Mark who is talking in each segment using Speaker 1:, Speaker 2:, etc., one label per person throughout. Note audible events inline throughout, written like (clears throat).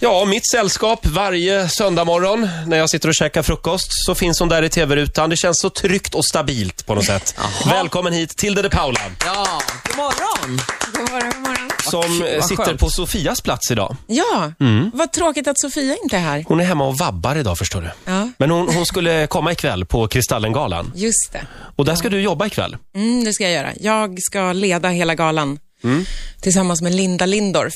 Speaker 1: Ja, mitt sällskap varje söndagmorgon när jag sitter och käkar frukost så finns hon där i tv-rutan. Det känns så tryggt och stabilt på något sätt. Välkommen hit, Tilde de Paula,
Speaker 2: Ja, god morgon!
Speaker 3: God morgon, god morgon.
Speaker 1: som eh,
Speaker 2: vad
Speaker 1: sitter
Speaker 2: skönt.
Speaker 1: på Sofias plats idag.
Speaker 3: Ja, vad tråkigt att Sofia inte är här.
Speaker 1: Hon är hemma och vabbar idag, förstår du.
Speaker 3: Ja.
Speaker 1: Men hon, hon skulle komma ikväll på Kristallengalan.
Speaker 3: Just det.
Speaker 1: Och där ska du jobba ikväll.
Speaker 3: Mm, det ska jag göra. Jag ska leda hela galan
Speaker 1: Mm.
Speaker 3: tillsammans med Linda Lindorff.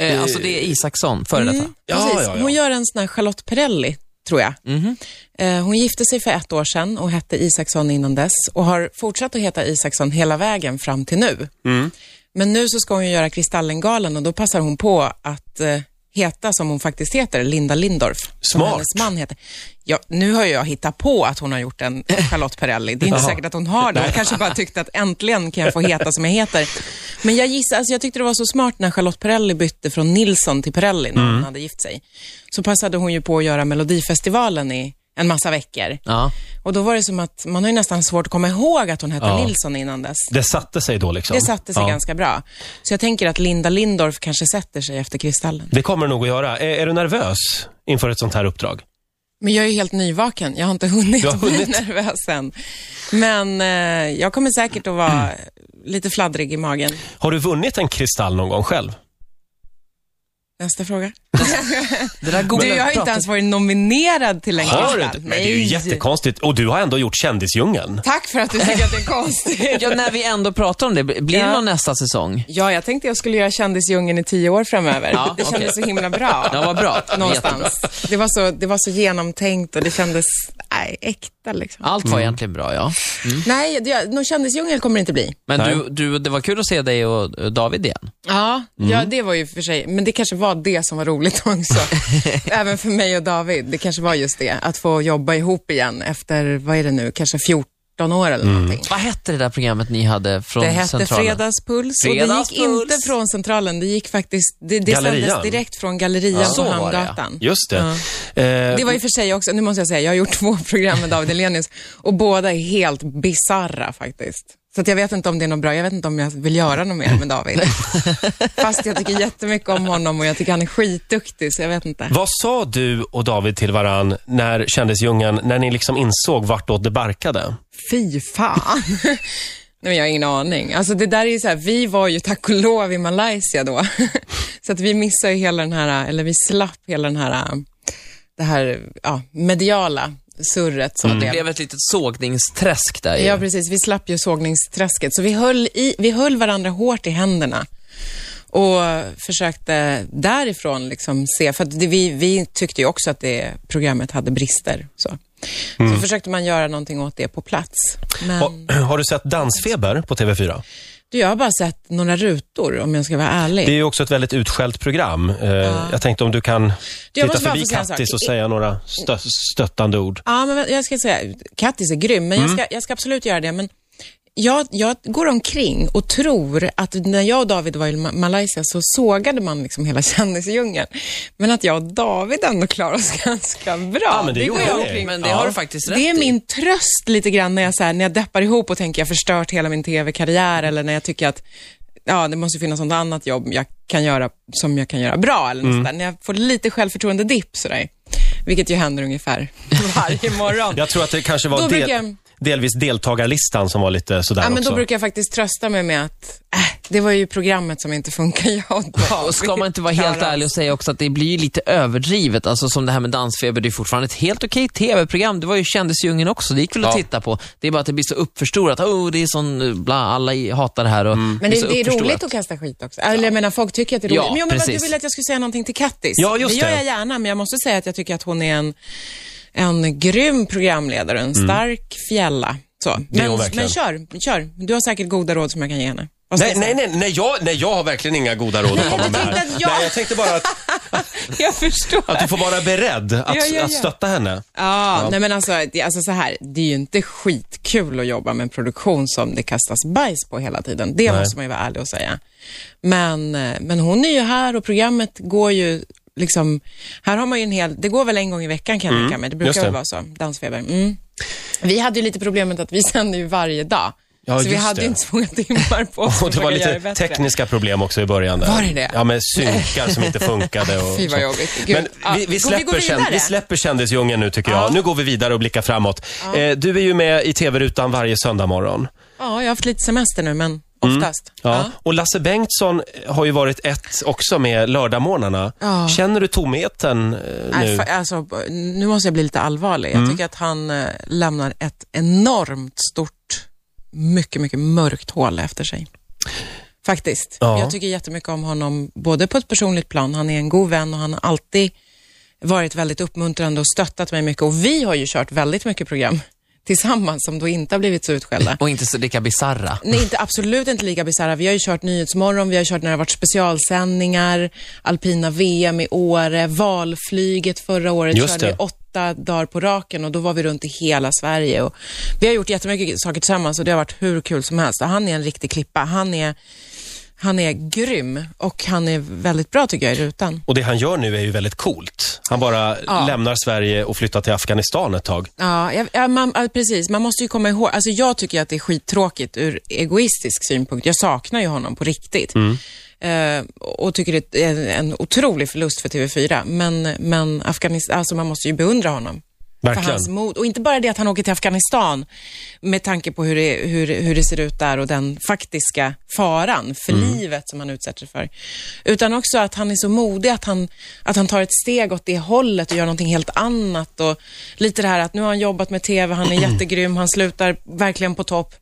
Speaker 2: Eh, alltså det är Isaksson, före
Speaker 3: Mm.
Speaker 2: detta.
Speaker 1: Ja,
Speaker 3: Precis.
Speaker 1: ja, Mhm. ja.
Speaker 3: Hon gör en sån här Charlotte Perrelli, tror jag. Eh, Hon gifte sig för ett år sedan och hette Isaksson innan dess och har fortsatt att heta Isaksson hela vägen fram till nu. Men nu så ska hon ju göra Kristallengalan och då passar hon på att eh, heta som hon faktiskt heter, Linda Lindorff. Som
Speaker 1: Smart.
Speaker 3: hennes man heter. Ja, nu har ju jag hittat på att hon har gjort en Charlotte Perrelli. Det är inte säkert att hon har det. Hon kanske bara tyckte att äntligen kan jag få heta som jag heter. Men jag gissar, alltså jag tyckte det var så smart när Charlotte Perrelli bytte från Nilsson till Perrelli när hon hade gift sig. Så passade hon ju på att göra Melodifestivalen i en massa veckor.
Speaker 2: Ja.
Speaker 3: Och då var det som att man har ju nästan svårt att komma ihåg att hon hette Nilsson innan dess.
Speaker 1: Det satte sig då liksom.
Speaker 3: Det satte sig
Speaker 1: Ja.
Speaker 3: ganska bra. Så jag tänker att Linda Lindorff kanske sätter sig efter Kristallen.
Speaker 1: Det kommer det nog att göra. Är, är du nervös inför ett sånt här uppdrag?
Speaker 3: Men jag är ju helt nyvaken. Jag har inte hunnit,
Speaker 1: Du har hunnit.
Speaker 3: bli nervös än. Men eh, jag kommer säkert att vara lite fladdrig i magen.
Speaker 1: Har du vunnit en kristall någon gång själv?
Speaker 3: Nästa fråga.
Speaker 2: Det där goda
Speaker 3: Du, jag har inte
Speaker 2: pratet-
Speaker 3: ens varit nominerad till en
Speaker 1: Har du
Speaker 3: Kristall.
Speaker 1: inte? Men det är ju jättekonstigt. Och du har ändå gjort Kändisdjungeln.
Speaker 3: Tack för att du tycker att det är konstigt.
Speaker 2: Ja, när vi ändå pratar om det, blir det
Speaker 3: Ja.
Speaker 2: någon nästa säsong?
Speaker 3: (laughs) Ja, jag tänkte jag skulle göra Kändisdjungeln i tio år framöver.
Speaker 2: Ja,
Speaker 3: det kändes
Speaker 2: okej.
Speaker 3: så himla bra.
Speaker 1: (laughs)
Speaker 2: Ja, vad bra. Jättebra.
Speaker 3: Någonstans. Det var, så, det var så genomtänkt och det kändes nej, äkta. Liksom.
Speaker 2: Allt var egentligen bra, ja.
Speaker 3: Nej, det, någon kändisdjungel kommer det inte bli.
Speaker 2: Men
Speaker 1: Nej.
Speaker 2: du, du, det var kul att se dig och eh, David igen.
Speaker 3: Ja, ja,
Speaker 2: Mm.
Speaker 3: det var ju för sig, men det kanske var det som var roligt (laughs) också.
Speaker 2: (laughs)
Speaker 3: Även för mig och David, det kanske var just det, att få jobba ihop igen efter, vad är det nu, kanske 14 år eller någonting.
Speaker 2: Vad hette det där programmet ni hade från
Speaker 3: Det hette
Speaker 2: Mm. centralen?
Speaker 3: Fredagspuls och det gick
Speaker 2: Fredagspuls.
Speaker 3: inte från Centralen, det gick faktiskt, det, det
Speaker 1: Gallerian.
Speaker 3: sändes direkt från Gallerian
Speaker 2: Så
Speaker 3: på
Speaker 2: var det, ja.
Speaker 3: Hamngatan.
Speaker 1: Just det. Eh,
Speaker 3: Det var ju för sig också, nu måste jag säga, jag har gjort (laughs) två program med David Hellenius och båda är helt bizarra faktiskt. Så att jag vet inte om det är något bra, jag vet inte om jag vill göra något mer med David. Fast jag tycker jättemycket om honom och jag tycker han är skitduktig, så jag vet inte.
Speaker 1: Vad sa du och David till varann när kändisdjungeln, när ni liksom insåg vartåt det barkade?
Speaker 3: Fy fan. (laughs) Nej, men jag har ingen aning. Alltså det där är ju så här, vi var ju tack och lov i Malaysia då. (laughs) så att vi missade ju hela den här, eller vi slapp hela den här, det här ja, mediala surret som
Speaker 2: Det
Speaker 3: blev.
Speaker 2: blev ett litet sågningsträsk där ju.
Speaker 3: Ja, precis. Vi slapp ju sågningsträsket. Så vi höll, i, vi höll varandra hårt i händerna och försökte därifrån liksom se, för att det, vi, vi tyckte ju också att det programmet hade brister. Så. så försökte man göra någonting åt det på plats. Men
Speaker 1: Och, (clears throat) har du sett Dansfeber på TV4?
Speaker 3: du, jag har bara sett några rutor om jag ska vara ärlig.
Speaker 1: Det är ju också ett väldigt utskällt program. Eh, Jag tänkte om du kan titta
Speaker 3: måste bara
Speaker 1: förbi
Speaker 3: få säga en sak.
Speaker 1: Kattis och säga några stö stöttande ord.
Speaker 3: Ja, men jag ska säga, Kattis är grym, men
Speaker 1: Mm.
Speaker 3: jag, ska, jag ska absolut göra det. Men jag, jag går omkring och tror att när jag och David var i Ma- Malaysia så sågade man liksom hela (laughs) kändisdjungeln. Men att jag och David ändå klarar oss (laughs) ganska bra.
Speaker 1: Ja, men det
Speaker 3: går
Speaker 1: gjorde
Speaker 3: jag
Speaker 1: ni.
Speaker 3: omkring.
Speaker 2: Men det
Speaker 1: Ja.
Speaker 2: har du faktiskt rätt
Speaker 3: Det är
Speaker 2: i. (laughs)
Speaker 3: min tröst lite grann när jag, så här, när jag deppar ihop och tänker jag har förstört hela min tv-karriär eller när jag tycker att ja, det måste finnas något annat jobb jag kan göra som jag kan göra bra eller något
Speaker 2: Mm.
Speaker 3: sånt där. När jag får lite självförtroende-dipp sådär, vilket ju händer ungefär (laughs)
Speaker 2: (laughs)
Speaker 3: varje morgon.
Speaker 1: Jag tror att det kanske var
Speaker 3: Då
Speaker 1: del,
Speaker 3: brukar-
Speaker 1: delvis deltagarlistan som var lite sådär
Speaker 3: Ja, men
Speaker 1: också.
Speaker 3: då brukar jag faktiskt trösta mig med att äh, det var ju programmet som inte funkar jag och David.
Speaker 2: Och ska man inte vara helt
Speaker 3: klarar
Speaker 2: ärlig och
Speaker 3: oss.
Speaker 2: säga också att det blir ju lite överdrivet, alltså som det här med Dansfeber, det är fortfarande ett helt okej TV-program. Det var ju Kändisdjungeln också, det gick väl att titta på. Det är bara att det blir så uppförstorat, oh, det är sån, eh, bla, alla i- hatar Mm. det här och
Speaker 3: Men
Speaker 2: så
Speaker 3: det, det är
Speaker 2: uppförstorat.
Speaker 3: roligt att kasta skit också. Eller jag menar, folk tycker att det är roligt.
Speaker 2: Ja,
Speaker 3: men jo, men vad du
Speaker 2: precis.
Speaker 3: ville att jag skulle säga någonting till Kattis.
Speaker 1: Ja, just
Speaker 3: det gör
Speaker 1: det.
Speaker 3: jag gärna, men jag måste säga att jag tycker att hon är en, en grym programledare, en stark fjälla. Så.
Speaker 1: Mm. är hon
Speaker 3: Men,
Speaker 1: verkligen.
Speaker 3: men kör, kör. Du har säkert goda råd som jag kan ge henne. Vad ska
Speaker 1: Nej,
Speaker 3: jag
Speaker 1: nej,
Speaker 3: säga?
Speaker 1: nej, nej, jag, nej, jag har verkligen inga goda råd att komma
Speaker 3: du
Speaker 1: med
Speaker 3: tänkte
Speaker 1: här.
Speaker 3: att jag-
Speaker 1: Nej, jag tänkte bara att,
Speaker 3: (laughs) Jag förstår.
Speaker 1: att du får vara beredd att,
Speaker 3: Ja, ja, ja.
Speaker 1: att stötta henne.
Speaker 3: Ja, nej men alltså, det- alltså så här, det är ju inte skitkul att jobba med en produktion som det kastas bajs på hela tiden. Det måste man ju vara ärlig och säga. Men, eh, men hon är ju här och programmet går ju liksom, här har man ju en hel, det går väl en gång i veckan kan jag tänka mig. Det brukar
Speaker 1: Mm, just det.
Speaker 3: väl vara så, Dansfeber. Mm. Vi hade ju lite problemet att vi sände ju varje dag.
Speaker 1: Ja,
Speaker 3: så vi
Speaker 1: just
Speaker 3: hade
Speaker 1: det.
Speaker 3: ju inte så många timmar på
Speaker 1: (laughs)
Speaker 3: oss
Speaker 1: Och det
Speaker 3: att
Speaker 1: var
Speaker 3: försöka göra det
Speaker 1: lite
Speaker 3: bättre.
Speaker 1: tekniska problem också i början. Där.
Speaker 3: Var det det?
Speaker 1: Ja, med synkar som inte funkade. Och
Speaker 3: (laughs) Fy, vad
Speaker 1: så.
Speaker 3: jobbigt. Gud.
Speaker 1: Men
Speaker 3: Ja,
Speaker 1: vi,
Speaker 3: går vi
Speaker 1: vi, släpper
Speaker 3: gå vidare?
Speaker 1: känd, vi släpper kändisdjungeln nu tycker jag.
Speaker 3: Ja.
Speaker 1: Nu går vi vidare och blickar framåt. Eh, du är ju med i TV-rutan varje söndag morgon.
Speaker 3: Ja, jag har haft lite semester nu, men oftast.
Speaker 1: Mm. Ja.
Speaker 3: Ja.
Speaker 1: Och Lasse Bengtsson har ju varit ett också med lördagsmorgnarna.
Speaker 3: Ja.
Speaker 1: Känner du tomheten eh,
Speaker 3: Nej,
Speaker 1: nu?
Speaker 3: fa- Alltså, nu måste jag bli lite allvarlig. Jag tycker att han eh, lämnar ett enormt stort, mycket, mycket mörkt hål efter sig. Faktiskt.
Speaker 1: Ja.
Speaker 3: Jag tycker jättemycket om honom, både på ett personligt plan, han är en god vän och han har alltid varit väldigt uppmuntrande och stöttat mig mycket. Och vi har ju kört väldigt mycket program tillsammans som då inte har blivit så utskällda.
Speaker 2: Och inte så lika bisarra.
Speaker 3: Nej, inte, absolut inte lika bisarra. Vi har ju kört Nyhetsmorgon, vi har kört när det har varit specialsändningar, alpina VM i Åre, valflyget förra året
Speaker 1: Just
Speaker 3: körde vi
Speaker 1: det.
Speaker 3: åtta dagar på raken och då var vi runt i hela Sverige. Och vi har gjort jättemycket saker tillsammans och det har varit hur kul som helst. Och han är en riktig klippa. Han är, han är grym och han är väldigt bra tycker jag i rutan.
Speaker 1: Och det han gör nu är ju väldigt coolt. Han bara
Speaker 3: Ja.
Speaker 1: lämnar Sverige och flyttar till Afghanistan ett tag.
Speaker 3: Ja, jag, ja, man, ja, precis. Man måste ju komma ihåg. Alltså, jag tycker att det är skittråkigt ur egoistisk synpunkt. Jag saknar ju honom på riktigt. Eh, och tycker det är en, en otrolig förlust för TV4. Men, men Afghanistan, alltså, man måste ju beundra honom. För
Speaker 1: Verkligen.
Speaker 3: hans mod. Och inte bara det att han åker till Afghanistan med tanke på hur det, hur, hur det ser ut där och den faktiska faran för
Speaker 1: Mm.
Speaker 3: livet som han utsätter sig för. Utan också att han är så modig att han, att han tar ett steg åt det hållet och gör någonting helt annat. Och lite det här att nu har han jobbat med TV,
Speaker 1: (clears throat)
Speaker 3: han är jättegrym, han slutar verkligen på topp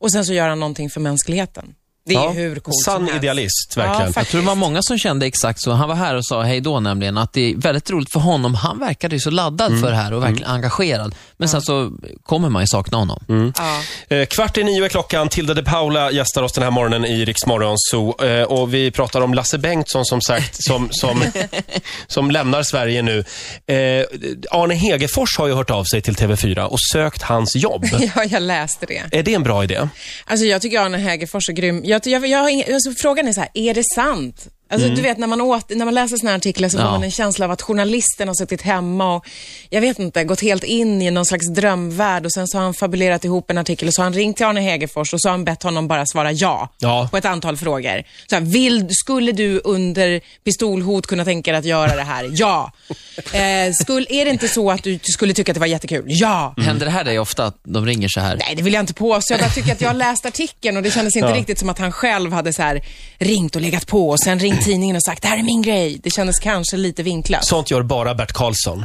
Speaker 3: och sen så gör han någonting för mänskligheten. Det är
Speaker 1: Ja,
Speaker 3: hur coolt som
Speaker 1: Sann
Speaker 3: helst.
Speaker 1: idealist, verkligen.
Speaker 3: Ja,
Speaker 2: Jag tror det var många som kände exakt så. Han var här och sa hej då nämligen, att det är väldigt roligt för honom. Han verkade ju så laddad
Speaker 3: Mm.
Speaker 2: för det här och verkligen engagerad. Men sen så kommer man ju sakna honom.
Speaker 3: Ja. (laughs)
Speaker 1: Eh, Kvart i nio är klockan. Tilda de Paula gästar oss den här morgonen i Rix Morgon Zoo. Eh, Och vi pratar om Lasse Bengtsson som sagt, som,
Speaker 3: (laughs)
Speaker 1: som, som lämnar Sverige nu. Eh, Arne Hegerfors har ju hört av sig till TV4 och sökt hans
Speaker 3: (laughs)
Speaker 1: jobb.
Speaker 3: ja, jag läste det.
Speaker 1: Är det en bra idé?
Speaker 3: Alltså jag tycker Arne Hägerfors är grym. Jag, jag, jag, har ingen- alltså, frågan är så här, är det sant? Alltså, Du vet, när man, åt, när man läser såna här artiklar så får
Speaker 2: Ja.
Speaker 3: man en känsla av att journalisten har suttit hemma och, jag vet inte, gått helt in i någon slags drömvärld och sen så har han fabulerat ihop en artikel och så har han ringt till Arne Hägerfors och så har han bett honom bara svara ja,
Speaker 1: Ja.
Speaker 3: på ett antal frågor. Så här, vill, skulle du under pistolhot kunna tänka dig att göra det här? Ja. Eh, skulle, är det inte så att du skulle tycka att det var jättekul? Ja.
Speaker 2: Händer det här dig ofta att de ringer så här?
Speaker 3: Nej, det vill jag inte påstå. Jag bara tycker att jag har läst artikeln och det kändes inte
Speaker 1: Ja.
Speaker 3: riktigt som att han själv hade så här ringt och legat på och sen ringt tidningen och sagt det här är min grej. Det kändes kanske lite vinklat.
Speaker 1: Sånt gör bara Bert Karlsson.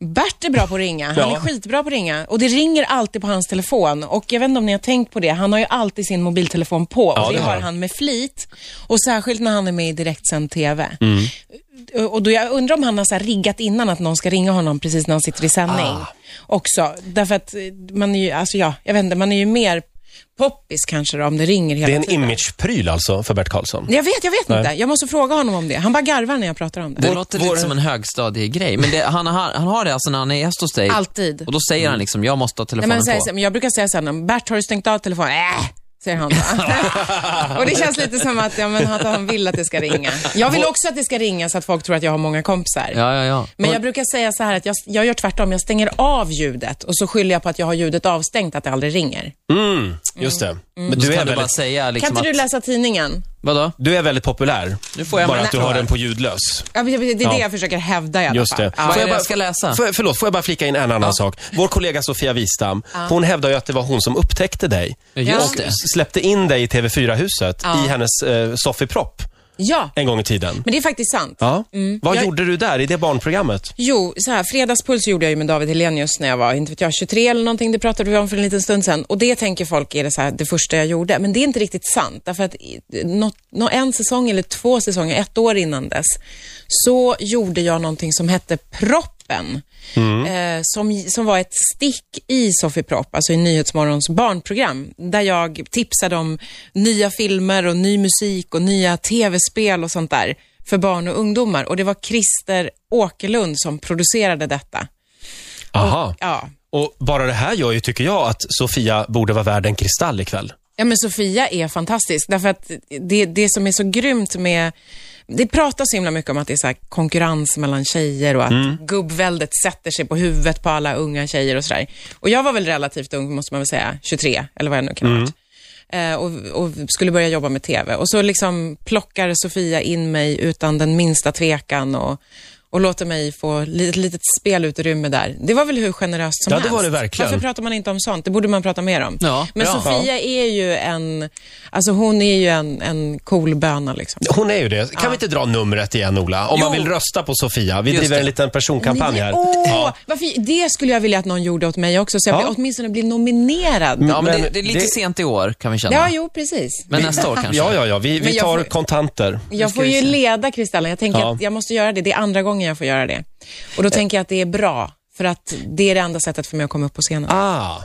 Speaker 3: Bert är bra på att ringa. Han
Speaker 1: Ja.
Speaker 3: är skitbra på att ringa. Och det ringer alltid på hans telefon. Och jag vet inte om ni har tänkt på det. Han har ju alltid sin mobiltelefon på. Och
Speaker 1: Ja,
Speaker 3: det,
Speaker 1: det har
Speaker 3: har
Speaker 1: han.
Speaker 3: han med flit. Och särskilt när han är med i direktsänd TV.
Speaker 1: Mm.
Speaker 3: Och då jag undrar om han har så här riggat innan att någon ska ringa honom precis när han sitter i sändning.
Speaker 1: Ah.
Speaker 3: Också. Därför att eh, man är ju, alltså ja, jag vet inte, man är ju mer poppis kanske då, om det ringer hela
Speaker 1: Det är en
Speaker 3: tiden.
Speaker 1: imagepryl alltså för Bert Karlsson.
Speaker 3: Jag vet, jag vet inte. Jag måste fråga honom om det. Han bara garvar när jag pratar om det.
Speaker 2: Det låter lite som en högstadiegrej, men det, han, har, han har det alltså när han är gäst hos dig.
Speaker 3: Alltid. Mm.
Speaker 2: Och då säger han liksom, jag måste ha
Speaker 3: Nej,
Speaker 2: telefonen
Speaker 3: men, säger,
Speaker 2: på.
Speaker 3: så- men jag brukar säga sen, Bert har du stängt av telefonen? Äh! Säger han
Speaker 2: (laughs)
Speaker 3: då. och det känns lite som att, ja, men att han vill att det ska ringa. Jag vill också att det ska ringa så att folk tror att jag har många kompisar.
Speaker 2: Ja, ja, ja.
Speaker 3: Men
Speaker 2: Och-
Speaker 3: jag brukar säga så här att jag, jag gör tvärtom. Jag stänger av ljudet och så skyller jag på att jag har ljudet avstängt, att det aldrig
Speaker 2: Liksom
Speaker 3: ringer.
Speaker 1: Mm, just det. Men
Speaker 2: Då
Speaker 1: du
Speaker 2: kan
Speaker 1: är,
Speaker 2: du bara
Speaker 1: väldigt,
Speaker 2: säga liksom
Speaker 3: Kan inte du
Speaker 2: att,
Speaker 3: läsa tidningen?
Speaker 2: vadå?
Speaker 1: du är väldigt populär.
Speaker 2: Nu får jag
Speaker 1: bara
Speaker 2: med
Speaker 1: att du har den på ljudlös.
Speaker 3: Ja, men Det är det
Speaker 1: Ja.
Speaker 3: jag försöker hävda i alla
Speaker 1: Just
Speaker 3: fall.
Speaker 1: det.
Speaker 3: Ja.
Speaker 2: Vad är det jag ska läsa?
Speaker 1: För, förlåt, får jag bara flika in en annan sak? Vår kollega Sofia Wistam, hon hävdar ju att det var hon som upptäckte dig.
Speaker 2: Ja, Just
Speaker 1: och
Speaker 2: det.
Speaker 1: släppte in dig i TV4-huset i hennes eh, soffipropp
Speaker 3: ja,
Speaker 1: en gång i tiden.
Speaker 3: men det är faktiskt sant.
Speaker 1: Ja.
Speaker 2: Mm.
Speaker 1: Vad
Speaker 3: Jag-
Speaker 1: gjorde du där i det barnprogrammet?
Speaker 3: Jo, så här, fredagspuls gjorde jag ju med David Helenius när jag var, inte vet jag, 23 eller någonting, det pratade vi om för en liten stund sedan. Och det tänker folk är det, så här, det första jag gjorde, men det är inte riktigt sant. Därför att i- något, nå- en säsong eller två säsonger, ett år innan dess, så gjorde jag någonting som hette proppen. Eh, som, som var ett stick i Sofie Propp, alltså i Nyhetsmorgons barnprogram, där jag tipsade om nya filmer och ny musik och nya tv-spel och sånt där för barn och ungdomar. Och det var Christer Åkerlund som producerade detta.
Speaker 1: Aha.
Speaker 3: Ja.
Speaker 1: Och bara det här gör ju, tycker jag, att Sofia borde vara värd en kristall ikväll.
Speaker 3: Ja, men Sofia är fantastisk, därför att det, det som är så grymt med... Det pratas så himla mycket om att det är så här konkurrens mellan tjejer och att
Speaker 1: Mm.
Speaker 3: gubbväldet sätter sig på huvudet
Speaker 1: Mm.
Speaker 3: på alla unga tjejer och sådär. Och jag var väl relativt ung, måste man väl säga, 23 eller vad jag nu kan ha varit. eh, och, och skulle börja jobba med TV. Och så liksom plockar Sofia in mig utan den minsta tvekan och, och låter mig få ett litet, litet spelutrymme där. Det var väl hur generöst som
Speaker 1: Ja, det
Speaker 3: helst.
Speaker 1: var det verkligen.
Speaker 3: Varför pratar man inte om sånt? Det borde man prata mer om.
Speaker 2: Ja,
Speaker 3: Men
Speaker 2: bra.
Speaker 3: Sofia är ju en, alltså hon är ju en, en cool böna liksom.
Speaker 1: Hon är ju det. Kan vi inte dra numret igen, Ola? Om man
Speaker 2: Jo.
Speaker 1: vill rösta på Sofia. Vi
Speaker 2: Just
Speaker 1: driver
Speaker 2: det.
Speaker 1: en liten personkampanj här.
Speaker 3: Åh,
Speaker 1: Ja.
Speaker 3: varför, det skulle jag vilja att någon gjorde åt mig också, så jag
Speaker 1: Ja.
Speaker 3: blir, åtminstone blir nominerad.
Speaker 1: Men-
Speaker 2: Ja, men, det,
Speaker 1: men
Speaker 2: det är lite
Speaker 1: det-
Speaker 2: sent i år, kan vi känna.
Speaker 3: Ja, jo, precis.
Speaker 2: Men alltså,
Speaker 3: (laughs)
Speaker 2: nästa år kanske.
Speaker 1: Ja, ja, ja. Vi,
Speaker 3: Men
Speaker 1: vi
Speaker 3: jag
Speaker 1: tar
Speaker 3: får-
Speaker 1: kontanter.
Speaker 3: Jag får ju leda Kristallen. Jag tänker
Speaker 1: Ja. Eh.
Speaker 3: att jag måste göra det. Det är andra gången jag får göra det. Och då tänker jag att det är bra, för att det är det enda sättet för mig att komma upp på scenen.
Speaker 1: Ah.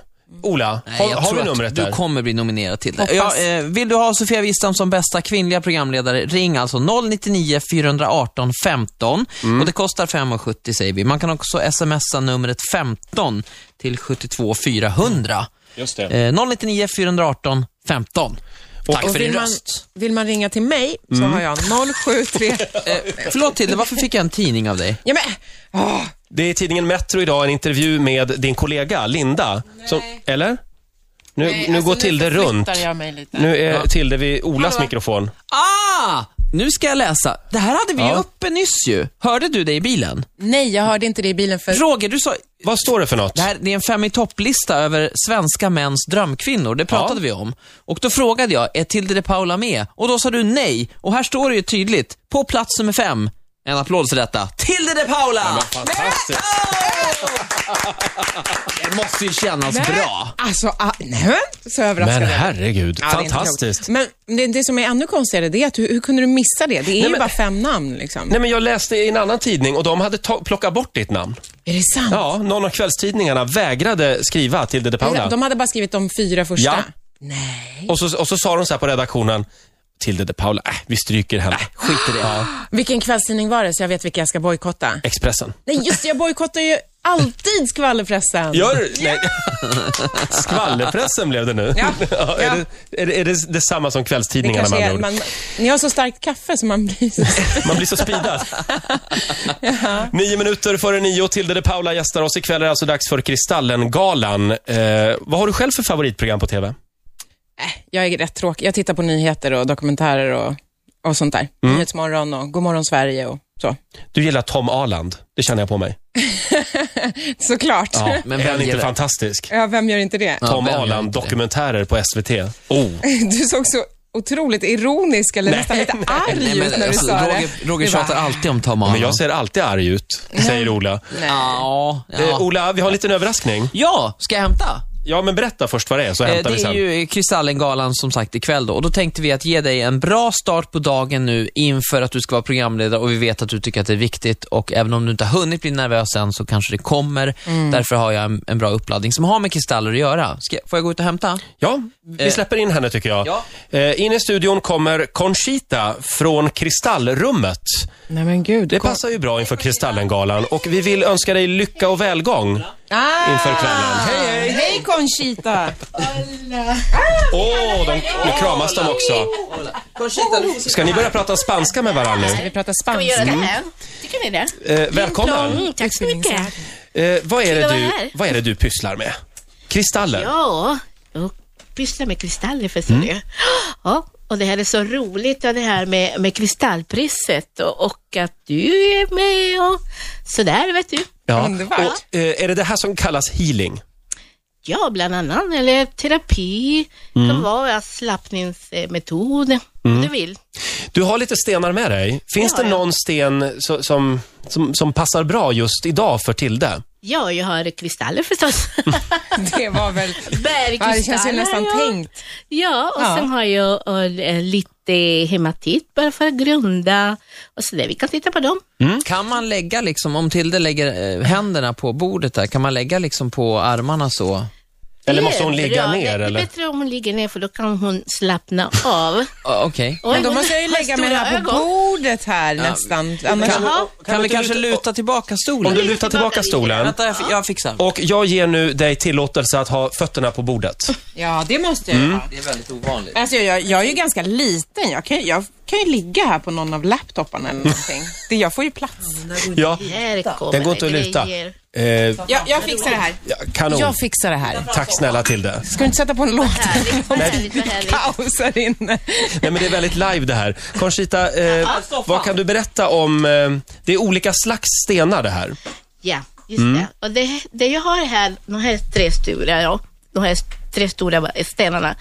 Speaker 1: Ola,
Speaker 2: Nej,
Speaker 1: har,
Speaker 2: jag
Speaker 1: har
Speaker 2: tror
Speaker 1: vi
Speaker 2: att
Speaker 1: numret
Speaker 2: Du
Speaker 1: där?
Speaker 2: kommer bli nominerad till det. Ja,
Speaker 3: Hoppas.
Speaker 2: eh, vill du ha Sofia Wistam som bästa kvinnliga programledare, ring alltså 099 418 15.
Speaker 1: Mm.
Speaker 2: Och det kostar 5,70 säger vi. Man kan också smsa numret 15 till 72 400.
Speaker 1: Just det.
Speaker 2: Eh, 099 418 15. Tack
Speaker 1: Och
Speaker 2: för
Speaker 3: vill,
Speaker 2: din
Speaker 3: man,
Speaker 2: röst.
Speaker 3: vill man ringa till mig så
Speaker 1: Mm.
Speaker 3: har jag 073...
Speaker 2: (laughs) Eh, förlåt Tilde, varför fick jag en tidning av dig?
Speaker 3: ja, men, åh,
Speaker 1: Det är i tidningen Metro idag en intervju med din kollega Linda. Som, eller? Nu, nu
Speaker 2: Alltså,
Speaker 3: alltså,
Speaker 1: går Tilde runt.
Speaker 4: jag mig lite.
Speaker 1: Nu är Tilde vid Olas mikrofon.
Speaker 2: Ah! Nu ska jag läsa. Det här hade vi ju uppe nyss ju. Hörde du det i bilen?
Speaker 3: nej, jag hörde inte det i bilen för...
Speaker 2: Roger, du sa...
Speaker 1: Vad står det för något?
Speaker 2: Det, här, det är en fem i topplista över svenska mäns drömkvinnor. Det pratade vi om. Och då frågade jag, är Tilde de Paula med? Och då sa du nej. Och här står det ju tydligt, på plats nummer fem. En applåd för detta. Tilde de Paula!
Speaker 1: Fantastiskt.
Speaker 2: (laughs) det måste ju kännas bra.
Speaker 3: Alltså, ah, nej, men, så överraskad.
Speaker 1: Men
Speaker 3: jag blev.
Speaker 1: herregud,
Speaker 3: Ja, det är inte
Speaker 1: fantastiskt.
Speaker 3: klokt. Men det, det som är ännu konstigare, det är att hur, hur kunde du missa det? Det är ju
Speaker 1: men-
Speaker 3: bara fem namn liksom.
Speaker 1: Nej, men jag läste i en annan tidning och de hade ta- plockat bort ditt namn.
Speaker 3: Är det sant?
Speaker 1: Ja, någon av kvällstidningarna vägrade skriva till Tilde de Paula.
Speaker 3: De hade bara skrivit de fyra första.
Speaker 1: Ja.
Speaker 3: Nej.
Speaker 1: Och, så, och så sa de så här på redaktionen, Tilde de Paula, äh, vi stryker henne.
Speaker 2: Skit i det.
Speaker 3: Vilken kvällstidning var det så jag vet vilka jag ska bojkotta?
Speaker 1: Expressen.
Speaker 3: Nej, just det, jag bojkottar ju alltid skvallerpressen.
Speaker 1: Gör du? Nej. (laughs) Skvallerpressen blev det nu. (laughs)
Speaker 3: Ja.
Speaker 1: Är,
Speaker 3: Ja.
Speaker 1: det, är, det, är det detsamma som
Speaker 3: det
Speaker 1: kvällstidningarna
Speaker 3: kanske
Speaker 1: med
Speaker 3: är,
Speaker 1: andra ord?
Speaker 3: man, ni har så starkt kaffe så man blir så...
Speaker 1: Man blir så
Speaker 3: (laughs)
Speaker 1: speedad. Nio minuter före nio, Tilde de Paula gästar oss. Ikväll är det alltså dags för Kristallengalan. Eh, vad har du själv för favoritprogram på TV?
Speaker 3: jag är rätt tråkig. Jag tittar på nyheter och dokumentärer och, och sånt där.
Speaker 1: Mm.
Speaker 3: Nyhetsmorgon och Godmorgon Sverige och så.
Speaker 1: Du gillar Tom Aland. Det känner jag på mig.
Speaker 3: Såklart. Ja,
Speaker 2: Men
Speaker 1: är
Speaker 2: vem
Speaker 1: han inte
Speaker 2: gillar-
Speaker 1: fantastisk?
Speaker 3: vem gör inte det?
Speaker 1: Tom
Speaker 2: vem gör
Speaker 1: Aland
Speaker 2: inte det?
Speaker 1: dokumentärer på SVT. Oh.
Speaker 3: (laughs) Du såg så otroligt ironisk eller nästan lite arg
Speaker 2: Nej,
Speaker 3: ut
Speaker 2: men,
Speaker 3: när du
Speaker 2: alltså,
Speaker 3: sa det.
Speaker 2: Roger, Roger
Speaker 3: Det var-
Speaker 2: tjatar alltid om Tom
Speaker 1: Men jag
Speaker 2: Arnold.
Speaker 1: ser alltid arg ut, säger Ola.
Speaker 3: Nej.
Speaker 2: Ja,
Speaker 1: Eh,
Speaker 2: ja.
Speaker 1: Ola, vi har en liten överraskning.
Speaker 2: ja, ska jag hämta?
Speaker 1: Ja, men berätta först vad det är, så
Speaker 2: Eh,
Speaker 1: hämtar vi
Speaker 2: Det är
Speaker 1: sen.
Speaker 2: ju Kristallengalan som sagt ikväll då. Och då tänkte vi att ge dig en bra start på dagen nu inför att du ska vara programledare och vi vet att du tycker att det är viktigt och även om du inte har hunnit bli nervös än så kanske det kommer.
Speaker 1: Mm.
Speaker 2: Därför har jag en, en bra uppladdning som har med kristaller att göra. Ska, får jag gå ut och hämta?
Speaker 1: Ja, vi släpper in henne tycker jag.
Speaker 2: ja.
Speaker 1: Eh, In i studion kommer Conchita från Kristallrummet.
Speaker 3: Nej men gud.
Speaker 1: Det passar ju bra inför Kristallengalan och vi vill önska dig lycka och välgång
Speaker 3: Ah!
Speaker 1: inför kvällen. Hej, hej!
Speaker 3: Hej Conchita!
Speaker 1: Åh, de, nu kramas de också.
Speaker 2: Conchita, du
Speaker 1: Ska ni börja prata spanska med varandra
Speaker 3: Vi
Speaker 1: nu?
Speaker 3: pratar
Speaker 4: Ska vi göra
Speaker 3: spanska.
Speaker 4: det här? Tycker ni det?
Speaker 1: Eh, välkommen!
Speaker 4: Mm, tack så mycket.
Speaker 1: Eh, vad, är det
Speaker 4: jag vara
Speaker 1: du,
Speaker 4: här?
Speaker 1: vad är det du pysslar med? Kristaller?
Speaker 4: Ja, jag pysslar med kristaller förstår du. Ja, och det här är så roligt och det här med, med kristallpriset och, och att du är med och sådär vet du.
Speaker 1: Ja.
Speaker 3: Underbart.
Speaker 1: Och, eh, är det det här som kallas healing?
Speaker 4: Ja, bland annat, eller terapi, kan vara slappningsmetod, om du vill.
Speaker 1: Du har lite stenar med dig. Finns
Speaker 4: Det har
Speaker 1: det
Speaker 4: jag.
Speaker 1: någon sten so- som, som, som passar bra just idag för Tilde?
Speaker 4: Ja, jag har kristaller förstås.
Speaker 3: Det var väl... Ja,
Speaker 4: Bergkristaller.
Speaker 3: det känns ju nästan
Speaker 4: ja.
Speaker 3: tänkt.
Speaker 4: Ja, och
Speaker 3: Ja.
Speaker 4: sen har jag eh, lite hematit bara för att grunda och så där. Vi kan titta på dem.
Speaker 1: Mm.
Speaker 2: Kan man lägga liksom, om Tilde lägger eh, händerna på bordet där, kan man lägga liksom på armarna så?
Speaker 1: Eller
Speaker 4: Det är
Speaker 1: måste hon ligga
Speaker 4: bra. Det-
Speaker 1: ner?
Speaker 4: Det är
Speaker 1: Eller?
Speaker 4: bättre om hon ligger ner för då kan hon slappna av.
Speaker 2: Ah, Okej.
Speaker 4: Oj,
Speaker 3: Men då
Speaker 4: hon
Speaker 3: måste jag ju
Speaker 4: har
Speaker 3: lägga mig
Speaker 4: stora
Speaker 3: här på
Speaker 4: ögon.
Speaker 3: bordet här nästan. Annars...
Speaker 4: Kan- Jaha.
Speaker 2: Kan, vi
Speaker 1: inte
Speaker 2: kanske
Speaker 1: luta-
Speaker 2: luta tillbaka stolen?
Speaker 1: Om du lutar tillbaka
Speaker 4: tillbaka
Speaker 1: stolen.
Speaker 2: Vänta, jag, fi- jag fixar.
Speaker 1: Och jag ger nu dig tillåtelse att ha fötterna på bordet.
Speaker 3: Ja, det måste jag göra.
Speaker 2: Mm. Det är väldigt ovanligt.
Speaker 3: Alltså, jag, jag är ju ganska liten. Jag, kan, jag kan ju ligga här på någon av laptoparna eller någonting.
Speaker 4: (laughs)
Speaker 3: Det, jag får ju plats.
Speaker 1: Ja,
Speaker 4: Här kommer
Speaker 1: den går inte att luta.
Speaker 4: grejer.
Speaker 1: Eh,
Speaker 3: Jag, jag fixar det här.
Speaker 1: ja, kanon.
Speaker 5: Jag fixar det här.
Speaker 1: Tack snälla Tilde.
Speaker 3: Ska du inte sätta på en låt?
Speaker 4: Härligt, vad härligt, vad härligt.
Speaker 3: (laughs) Kaos här inne.
Speaker 1: Nej, men det är väldigt live det här. Conchita, eh, vad kan du berätta om... Eh, det är olika slags stenar det här.
Speaker 4: Ja, just det. Och det, det jag har här, de här tre stora, ja, de här tre stora stenarna,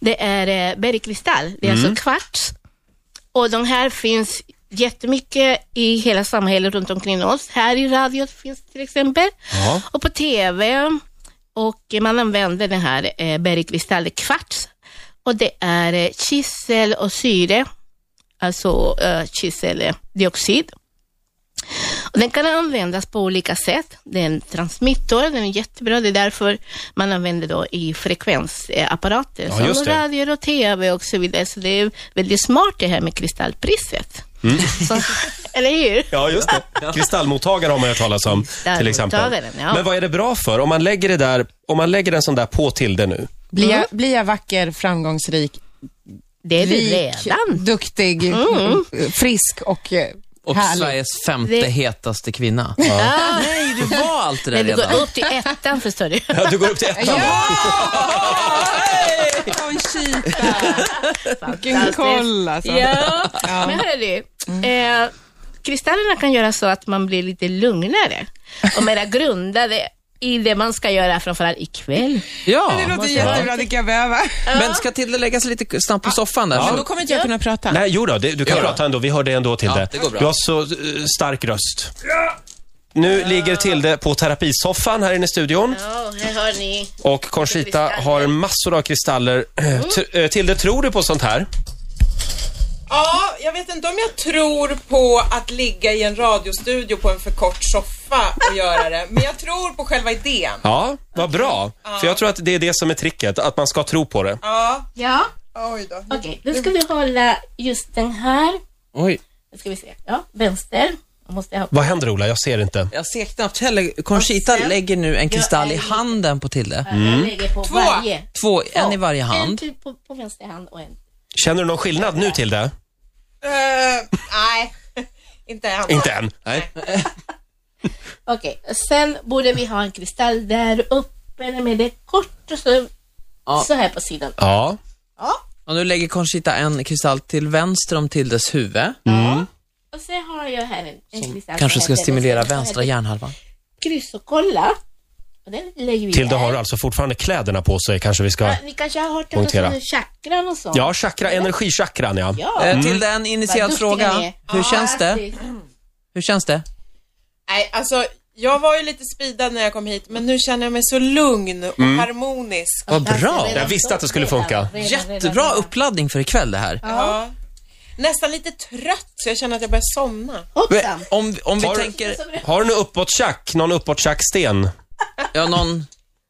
Speaker 4: det är eh, bergkristall, det är alltså kvarts. Och de här finns jättemycket i hela samhället runt omkring oss. Här i radio finns till exempel,
Speaker 1: Ja.
Speaker 4: och på TV. Och eh, man använder den här eh, bergkristall, kvarts. Och det är eh, kisel och syre, alltså eh, kiseldioxid. Och Den kan användas på olika sätt. Det är en transmittor, den är jättebra. Det är därför man använder då i frekvensapparater
Speaker 1: Ja, just
Speaker 4: som
Speaker 1: det.
Speaker 4: radio och TV och så vidare. Så det är väldigt smart det här med kristallpriset.
Speaker 1: Mm.
Speaker 4: Så, (laughs) eller hur?
Speaker 1: Ja, just det. Kristallmottagare har man ju hört talas om, till exempel.
Speaker 4: Kristallmottagaren, ja.
Speaker 1: Men vad är det bra för? Om man lägger, det där, om man lägger en sån där på Tilde nu.
Speaker 3: Blir jag, blir jag vacker, framgångsrik,
Speaker 4: Det Mm. är det
Speaker 3: rik,
Speaker 4: redan. Mm.
Speaker 3: duktig, frisk och, eh,
Speaker 2: Och
Speaker 3: härlig?
Speaker 2: Sveriges femte
Speaker 4: Det-
Speaker 2: hetaste kvinna.
Speaker 4: Ja.
Speaker 2: Nej,
Speaker 4: (laughs)
Speaker 2: du var allt det där
Speaker 4: Men du
Speaker 2: redan.
Speaker 4: går upp till ettan förstår du.
Speaker 2: (laughs)
Speaker 1: Ja, du går upp till ettan.
Speaker 3: Conchita! Vilken koll alltså.
Speaker 4: Ja, men hörru, eh, kristallerna kan göra så att man blir lite lugnare och mera grundade i det man ska göra, framförallt ikväll.
Speaker 2: Ja,
Speaker 3: Det låter jättebra, det kan jag behöva.
Speaker 2: men ska Tilde lägga sig lite snabbt på soffan där?
Speaker 3: Men
Speaker 2: så-
Speaker 3: då kommer inte jag kunna prata.
Speaker 1: Nej, jo då, det, du kan
Speaker 2: Jo då.
Speaker 1: prata ändå. Vi hör dig ändå, Tilde.
Speaker 2: Ja, det går bra.
Speaker 1: Du har så eh, stark röst. Nu ligger Tilde på terapisoffan här inne i studion.
Speaker 4: Ja, här hör ni.
Speaker 1: Och Conchita
Speaker 4: Kristaller.
Speaker 1: har massor av kristaller. T- eh, Tilde, tror du på sånt här?
Speaker 3: Ja, jag vet inte om jag tror på att ligga i en radiostudio på en för kort soffa och göra det, men jag tror på själva idén.
Speaker 1: Ja, vad bra. För jag tror att det är det som är tricket, att man ska tro på det.
Speaker 3: Ja,
Speaker 4: Ja,
Speaker 3: oj då.
Speaker 4: okej. Nu ska vi hålla just den här.
Speaker 2: Oj.
Speaker 4: Nu ska vi se. Ja, vänster. Jag måste ha...
Speaker 1: Vad händer Ola? Jag ser inte.
Speaker 2: Jag ser knappt heller. Conchita
Speaker 4: Och sen-
Speaker 2: lägger nu en kristall i
Speaker 4: Jag är lite-
Speaker 2: handen på Tilde.
Speaker 4: Jag lägger på Två. varje.
Speaker 2: Två, en i varje
Speaker 4: En
Speaker 2: hand.
Speaker 4: typ på, på vänster hand och en.
Speaker 1: Känner du någon skillnad nu Tilde?
Speaker 3: Eh, nej, inte än.
Speaker 1: Inte än. Nej.
Speaker 4: Okej, sen borde vi ha en kristall där uppe med det kort och så,
Speaker 2: Ja.
Speaker 4: så här på sidan.
Speaker 1: Ja.
Speaker 4: Ja.
Speaker 2: Och nu lägger Conchita en kristall till vänster om Tildes huvud.
Speaker 4: Och sen har jag här en, en kristall.
Speaker 2: Kanske
Speaker 4: som
Speaker 2: ska
Speaker 4: heter-
Speaker 2: stimulera
Speaker 4: som heter
Speaker 2: vänstra hjärnhalvan.
Speaker 4: Kryss och kolla. Och den lägger vi
Speaker 1: Tilde
Speaker 4: där.
Speaker 1: har alltså fortfarande kläderna på sig, kanske vi ska...
Speaker 4: Ja, Ni kanske har hört talas
Speaker 1: Punktera.
Speaker 4: om chakran och sånt?
Speaker 1: Ja, chakra, energichakran ja.
Speaker 4: ja.
Speaker 2: Eh, Tilde, en initierad
Speaker 4: duktiga Mm. ni
Speaker 2: fråga.
Speaker 4: är.
Speaker 2: Hur känns det?
Speaker 4: Precis.
Speaker 2: Hur känns det?
Speaker 6: Nej, alltså jag var ju lite speedad när jag kom hit, men nu känner jag mig så lugn och
Speaker 3: Mm.
Speaker 6: harmonisk.
Speaker 2: Vad
Speaker 4: Alltså,
Speaker 2: bra.
Speaker 4: redan
Speaker 1: Jag visste att det skulle
Speaker 4: redan,
Speaker 1: funka.
Speaker 4: redan, redan,
Speaker 2: Jättebra
Speaker 4: redan.
Speaker 2: uppladdning för ikväll det här.
Speaker 6: Ja. Nästan lite trött, så jag känner att jag börjar somna.
Speaker 4: Hoppsan.
Speaker 2: Om, om vi
Speaker 1: Har-
Speaker 2: tänker,
Speaker 1: Har du någon uppåttjack? Någon uppåttjacksten?
Speaker 2: ja någon,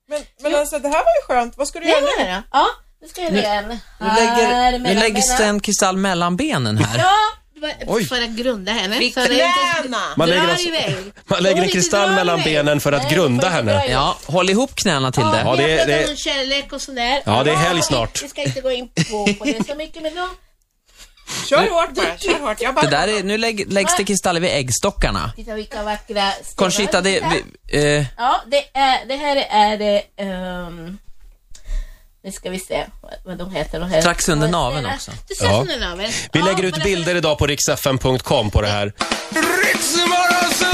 Speaker 6: Men, men alltså det här var ju skönt. Vad ska du
Speaker 4: Det
Speaker 6: göra?
Speaker 4: var det då. Ja, nu ska jag göra en.
Speaker 2: nu, lägger, nu läggs det en kristall mellan benen här.
Speaker 4: Ja, det var- för att grunda henne. Så det är inte-
Speaker 6: Knäna!
Speaker 1: Man lägger,
Speaker 4: Drar
Speaker 1: alltså,
Speaker 4: iväg.
Speaker 1: (laughs) man lägger en
Speaker 4: Drar
Speaker 1: kristall
Speaker 4: iväg.
Speaker 1: mellan benen för att
Speaker 4: Nej,
Speaker 1: grunda
Speaker 4: för att dra
Speaker 1: henne.
Speaker 4: iväg.
Speaker 2: Ja, håll ihop knäna till det.
Speaker 4: Ja,
Speaker 1: det-
Speaker 4: vi har
Speaker 1: det-
Speaker 4: pratat om kärlek och sådär.
Speaker 1: Ja, det är helg snart.
Speaker 4: Vi ska inte gå in på, på det så mycket, men då...
Speaker 6: Kör hårt bara, kör hårt. Jag bara...
Speaker 2: Det där är, nu lägg, läggs det kristaller vid äggstockarna.
Speaker 4: Titta vilka vackra stenar
Speaker 2: Conchita, det,
Speaker 4: hittar.
Speaker 2: vi, eh,
Speaker 4: Ja, det, är, det här är det... ehm, nu ska vi se vad, vad de heter. De här.
Speaker 2: Strax under
Speaker 4: De här
Speaker 2: naveln
Speaker 4: stenar.
Speaker 2: också.
Speaker 4: Du ser
Speaker 1: Ja.
Speaker 4: under naveln.
Speaker 1: Vi
Speaker 4: Ja,
Speaker 1: lägger
Speaker 4: men
Speaker 1: ut
Speaker 4: alltså-
Speaker 1: bilder idag på riksfm.com på det här.
Speaker 7: Ritzmorgonzoo!